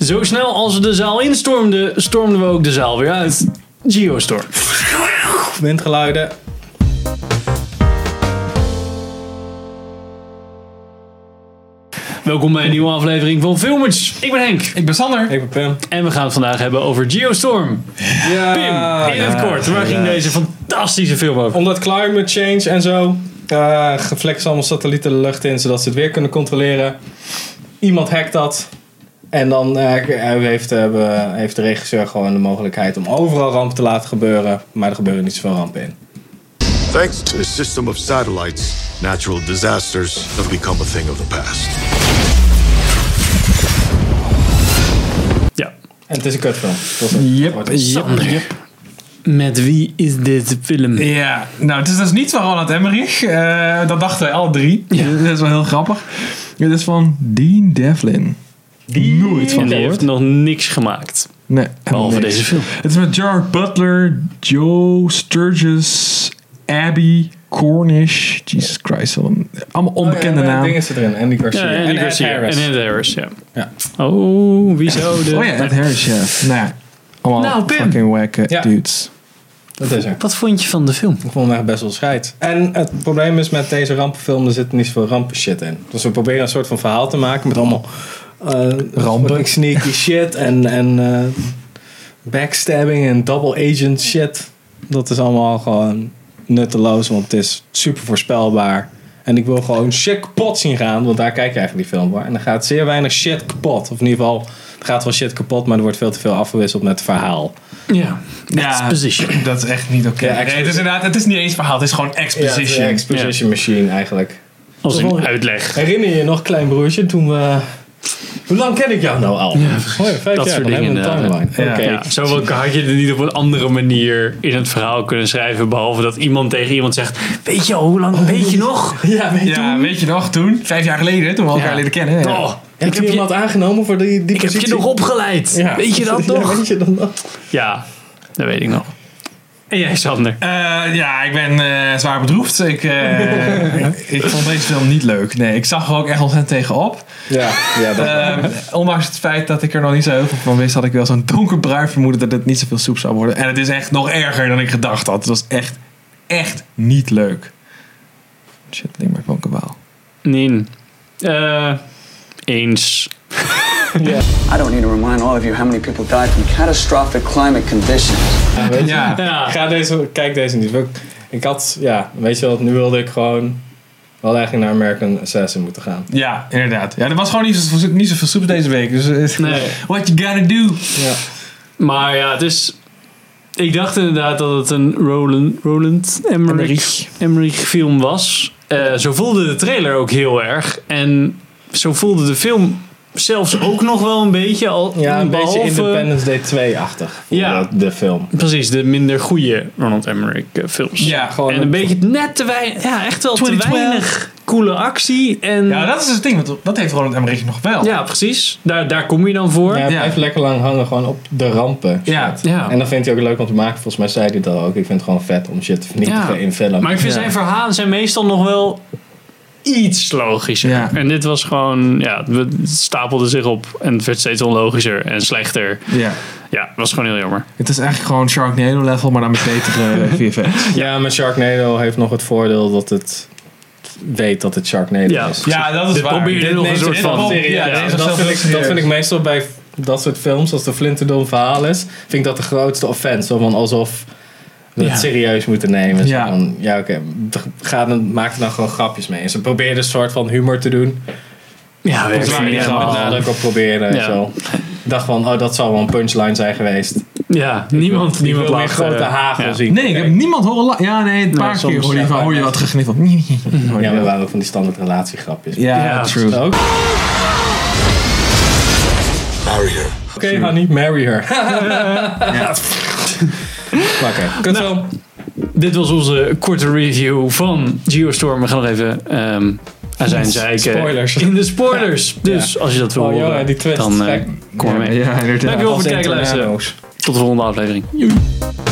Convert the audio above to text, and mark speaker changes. Speaker 1: Zo snel als we de zaal instormden, stormden we ook de zaal weer uit. Geostorm.
Speaker 2: Windgeluiden.
Speaker 1: Welkom bij een nieuwe aflevering van Filmers. Ik ben Henk
Speaker 3: Ik ben Sander.
Speaker 2: Ik ben Pim.
Speaker 1: en we gaan het vandaag hebben over Geostorm.
Speaker 2: Ja.
Speaker 1: Pim, in het kort, waar ging deze fantastische film over?
Speaker 2: Omdat climate change en zo. eh geflext allemaal satellieten de lucht in, zodat ze het weer kunnen controleren. Iemand hackt dat. En dan eh, heeft, eh, heeft de regisseur gewoon de mogelijkheid om overal rampen te laten gebeuren. Maar er gebeuren niet zoveel rampen in.
Speaker 4: Thanks to a system of satellites, natural disasters have become a thing of the past.
Speaker 1: Ja.
Speaker 2: En het is een kutfilm. Dat is het. Wordt het.
Speaker 1: Sander, met wie is dit film?
Speaker 3: Ja, nou, het is dus niet van Roland Emmerich. Eh, dat dachten wij alle drie. Dat is wel heel grappig. Dit is van Dean Devlin. Die nooit van
Speaker 1: Die heeft nog
Speaker 3: gehoord.
Speaker 1: niks gemaakt,
Speaker 3: Nee,
Speaker 1: behalve
Speaker 3: niks.
Speaker 1: deze film.
Speaker 3: Het is met Gerard Butler, Joe Sturgis, Abby Cornish. Jesus Christ, wat een- allemaal onbekende
Speaker 2: Oh ja,
Speaker 3: namen.
Speaker 2: Dingen zitten erin. Andy Garcia.
Speaker 1: Ja, en
Speaker 2: en
Speaker 1: Andy
Speaker 2: Ed
Speaker 1: Garcia.
Speaker 2: Harris.
Speaker 1: En Ed Harris, ja.
Speaker 2: Ja.
Speaker 1: Oh, wie zou de...
Speaker 3: Oh ja, Ed Harris, ja. Nou ja, allemaal
Speaker 1: Nou, Pim.
Speaker 3: fucking wacke
Speaker 2: Ja.
Speaker 3: dudes.
Speaker 2: Dat is er.
Speaker 1: Wat vond je van de film?
Speaker 2: Ik vond hem echt best wel scheid. En het probleem is met deze rampenfilm, er zit niet zoveel rampen shit in. Dus we proberen een soort van verhaal te maken met allemaal eh, fucking sneaky shit en, en eh, backstabbing en double agent shit. Dat is allemaal gewoon nutteloos, want het is super voorspelbaar. En ik wil gewoon shit kapot zien gaan, want daar kijk je eigenlijk die film voor. En dan gaat zeer weinig shit kapot. Of in ieder geval, er gaat wel shit kapot, maar er wordt veel te veel afgewisseld met het verhaal.
Speaker 1: Ja. Exposition.
Speaker 3: Dat is echt niet oké.
Speaker 2: Ja,
Speaker 3: nee, het is inderdaad, het is niet eens verhaal, het is gewoon exposition.
Speaker 2: Ja, exposition machine eigenlijk.
Speaker 1: Als
Speaker 2: Gewoon-
Speaker 1: een uitleg.
Speaker 2: Herinner je je nog, klein broertje, toen we... Hoe lang ken ik jou nou al? Hoi, vijf
Speaker 1: Dat
Speaker 2: jaar.
Speaker 1: soort
Speaker 2: dan
Speaker 1: dingen
Speaker 2: hebben we een
Speaker 1: inderdaad.
Speaker 2: timeline.
Speaker 3: Ja.
Speaker 2: Oké.
Speaker 1: Ja, zo wel had je het niet op een andere manier in het verhaal kunnen schrijven. Behalve dat iemand tegen iemand zegt: Weet je al hoe lang? Weet je nog?
Speaker 2: Ja, weet je
Speaker 3: Ja, weet je nog, toen, vijf jaar geleden, toen we elkaar
Speaker 1: Ja.
Speaker 3: leren kennen. Ja.
Speaker 1: Oh,
Speaker 2: Heb
Speaker 1: ik
Speaker 2: je
Speaker 1: heb
Speaker 2: iemand
Speaker 1: je,
Speaker 2: aangenomen voor die, die
Speaker 1: ik heb
Speaker 2: positie?
Speaker 1: je nog opgeleid.
Speaker 2: Ja.
Speaker 1: Weet je dat
Speaker 2: Ja,
Speaker 1: nog?
Speaker 2: Weet je dat nog?
Speaker 1: Ja, dat weet ik nog. En jij, Sander?
Speaker 3: Eh, ja, ik ben eh, zwaar bedroefd. Ik, eh, ik vond deze film niet leuk. Nee, ik zag er ook echt ontzettend tegen op.
Speaker 2: Ja, ja dat
Speaker 3: Eh, ondanks het feit dat ik er nog niet zo heel veel van wist, had ik wel zo'n donkerbruin vermoeden dat het niet zoveel soep zou worden. En het is echt nog erger dan ik gedacht had. Het was echt, echt niet leuk. Shit, ik maak wel een kabaal.
Speaker 1: Nee. Eh, eens.
Speaker 5: I don't need to remind all of you how many people died from catastrophic climate conditions.
Speaker 2: weet je.
Speaker 3: Ja.
Speaker 2: Ik
Speaker 1: Ja.
Speaker 2: Ga deze, kijk deze niet. Ik- Ik had, ja, weet je wat, nu wilde ik gewoon wel eigenlijk naar American Assassin moeten gaan.
Speaker 3: Ja, inderdaad. Ja, er was gewoon niet, zo, niet zoveel soep deze week. Dus eh,
Speaker 1: Nee.
Speaker 3: what you gotta do.
Speaker 2: Ja.
Speaker 1: Maar ja, het is. Ik dacht inderdaad dat het een Roland, Roland Emmerich,
Speaker 3: Emmerich.
Speaker 1: Emmerich film was. Eh, zo voelde de trailer ook heel erg. En zo voelde de film zelfs ook nog wel een beetje. Al,
Speaker 2: Ja, een
Speaker 1: behalve-
Speaker 2: beetje Independence Day 2-achtig.
Speaker 1: Ja.
Speaker 2: Ja. De, de film.
Speaker 1: Precies, de minder goede Ronald Emmerich eh, films.
Speaker 3: Ja,
Speaker 2: gewoon
Speaker 1: en een
Speaker 2: een-
Speaker 1: beetje net te weinig. Ja, echt wel te
Speaker 3: 2012.
Speaker 1: weinig coole actie. En,
Speaker 3: Ja, dat is dus het ding. want Dat heeft Roland Emmerich nog wel.
Speaker 1: ja, precies. Daar, daar kom je dan voor.
Speaker 2: Ja,
Speaker 1: Ja.
Speaker 2: hij
Speaker 3: Ja.
Speaker 2: blijft lekker lang hangen gewoon op de rampen.
Speaker 3: Ja.
Speaker 2: En dan vindt hij ook leuk om te maken. Volgens mij zei hij dat ook. Ik vind het gewoon vet om shit te vernietigen
Speaker 1: Ja.
Speaker 2: in film.
Speaker 1: Maar ik vind
Speaker 3: Ja.
Speaker 1: zijn verhalen zijn meestal nog wel iets logischer.
Speaker 3: Ja.
Speaker 1: En dit was gewoon, ja, het stapelde zich op en het werd steeds onlogischer en slechter.
Speaker 3: Ja.
Speaker 1: Ja, dat was gewoon heel jammer.
Speaker 3: Het is eigenlijk gewoon Sharknado level, maar dan met betere eh, VFX.
Speaker 2: Ja, maar Sharknado heeft nog het voordeel dat het weet dat het Sharknado
Speaker 1: Ja.
Speaker 2: is.
Speaker 3: Ja, dat is
Speaker 1: Dit
Speaker 3: waar.
Speaker 1: probeer je nog een
Speaker 3: neemt-
Speaker 1: soort
Speaker 3: dit
Speaker 1: van-
Speaker 3: op.
Speaker 1: Ja,
Speaker 3: Ja,
Speaker 1: ja,
Speaker 3: deze
Speaker 2: En dat,
Speaker 3: zelf
Speaker 2: vind
Speaker 3: ook
Speaker 2: ik, dat vind ik
Speaker 3: serieus.
Speaker 2: meestal bij dat soort films, als de flinterdom verhaal is, vind ik dat de grootste offense. Zo van alsof we
Speaker 1: Ja.
Speaker 2: het serieus moeten nemen. Zo
Speaker 3: Ja.
Speaker 2: van, Ja, oké, ga dan maak er dan gewoon grapjes mee. En ze probeerden een soort van humor te doen.
Speaker 1: Ja,
Speaker 2: Dus waar je gewoon nadruk op probeerde en
Speaker 1: Ja.
Speaker 2: zo. Ik dacht van, oh, dat zal wel een punchline zijn geweest.
Speaker 1: Ja, niemand,
Speaker 2: Die
Speaker 1: niemand
Speaker 2: wil meer
Speaker 1: lacht.
Speaker 2: grote
Speaker 1: eh,
Speaker 2: hagel
Speaker 1: ja.
Speaker 2: zien.
Speaker 3: Nee, ik heb niemand horen lachen. Ja, nee, een paar
Speaker 1: soms,
Speaker 3: keer hoor je,
Speaker 2: ja,
Speaker 3: van,
Speaker 2: maar-
Speaker 3: hoor je wat gegniffeld. Ja,
Speaker 2: Ja, we waren ook van die standaard Dus relatiegrapjes.
Speaker 1: Ja,
Speaker 3: ja, true.
Speaker 2: Ook.
Speaker 4: Marry her.
Speaker 2: Oké, honey, marry her.
Speaker 3: Ja.
Speaker 2: Maar oké, kutfilm.
Speaker 1: Nou, Dit was onze korte review van Geostorm. We gaan nog even ehm, aan zijn zeiken.
Speaker 2: Spoilers.
Speaker 1: In de spoilers. Dus als je dat wil
Speaker 2: Oh,
Speaker 1: horen,
Speaker 2: jongen, die twist.
Speaker 1: dan eh,
Speaker 2: Gek.
Speaker 1: kom maar mee.
Speaker 3: Ja, inderdaad.
Speaker 1: Dankjewel voor het kijken,
Speaker 2: Als
Speaker 1: luisteren.
Speaker 2: Internado's.
Speaker 1: Tot de volgende aflevering.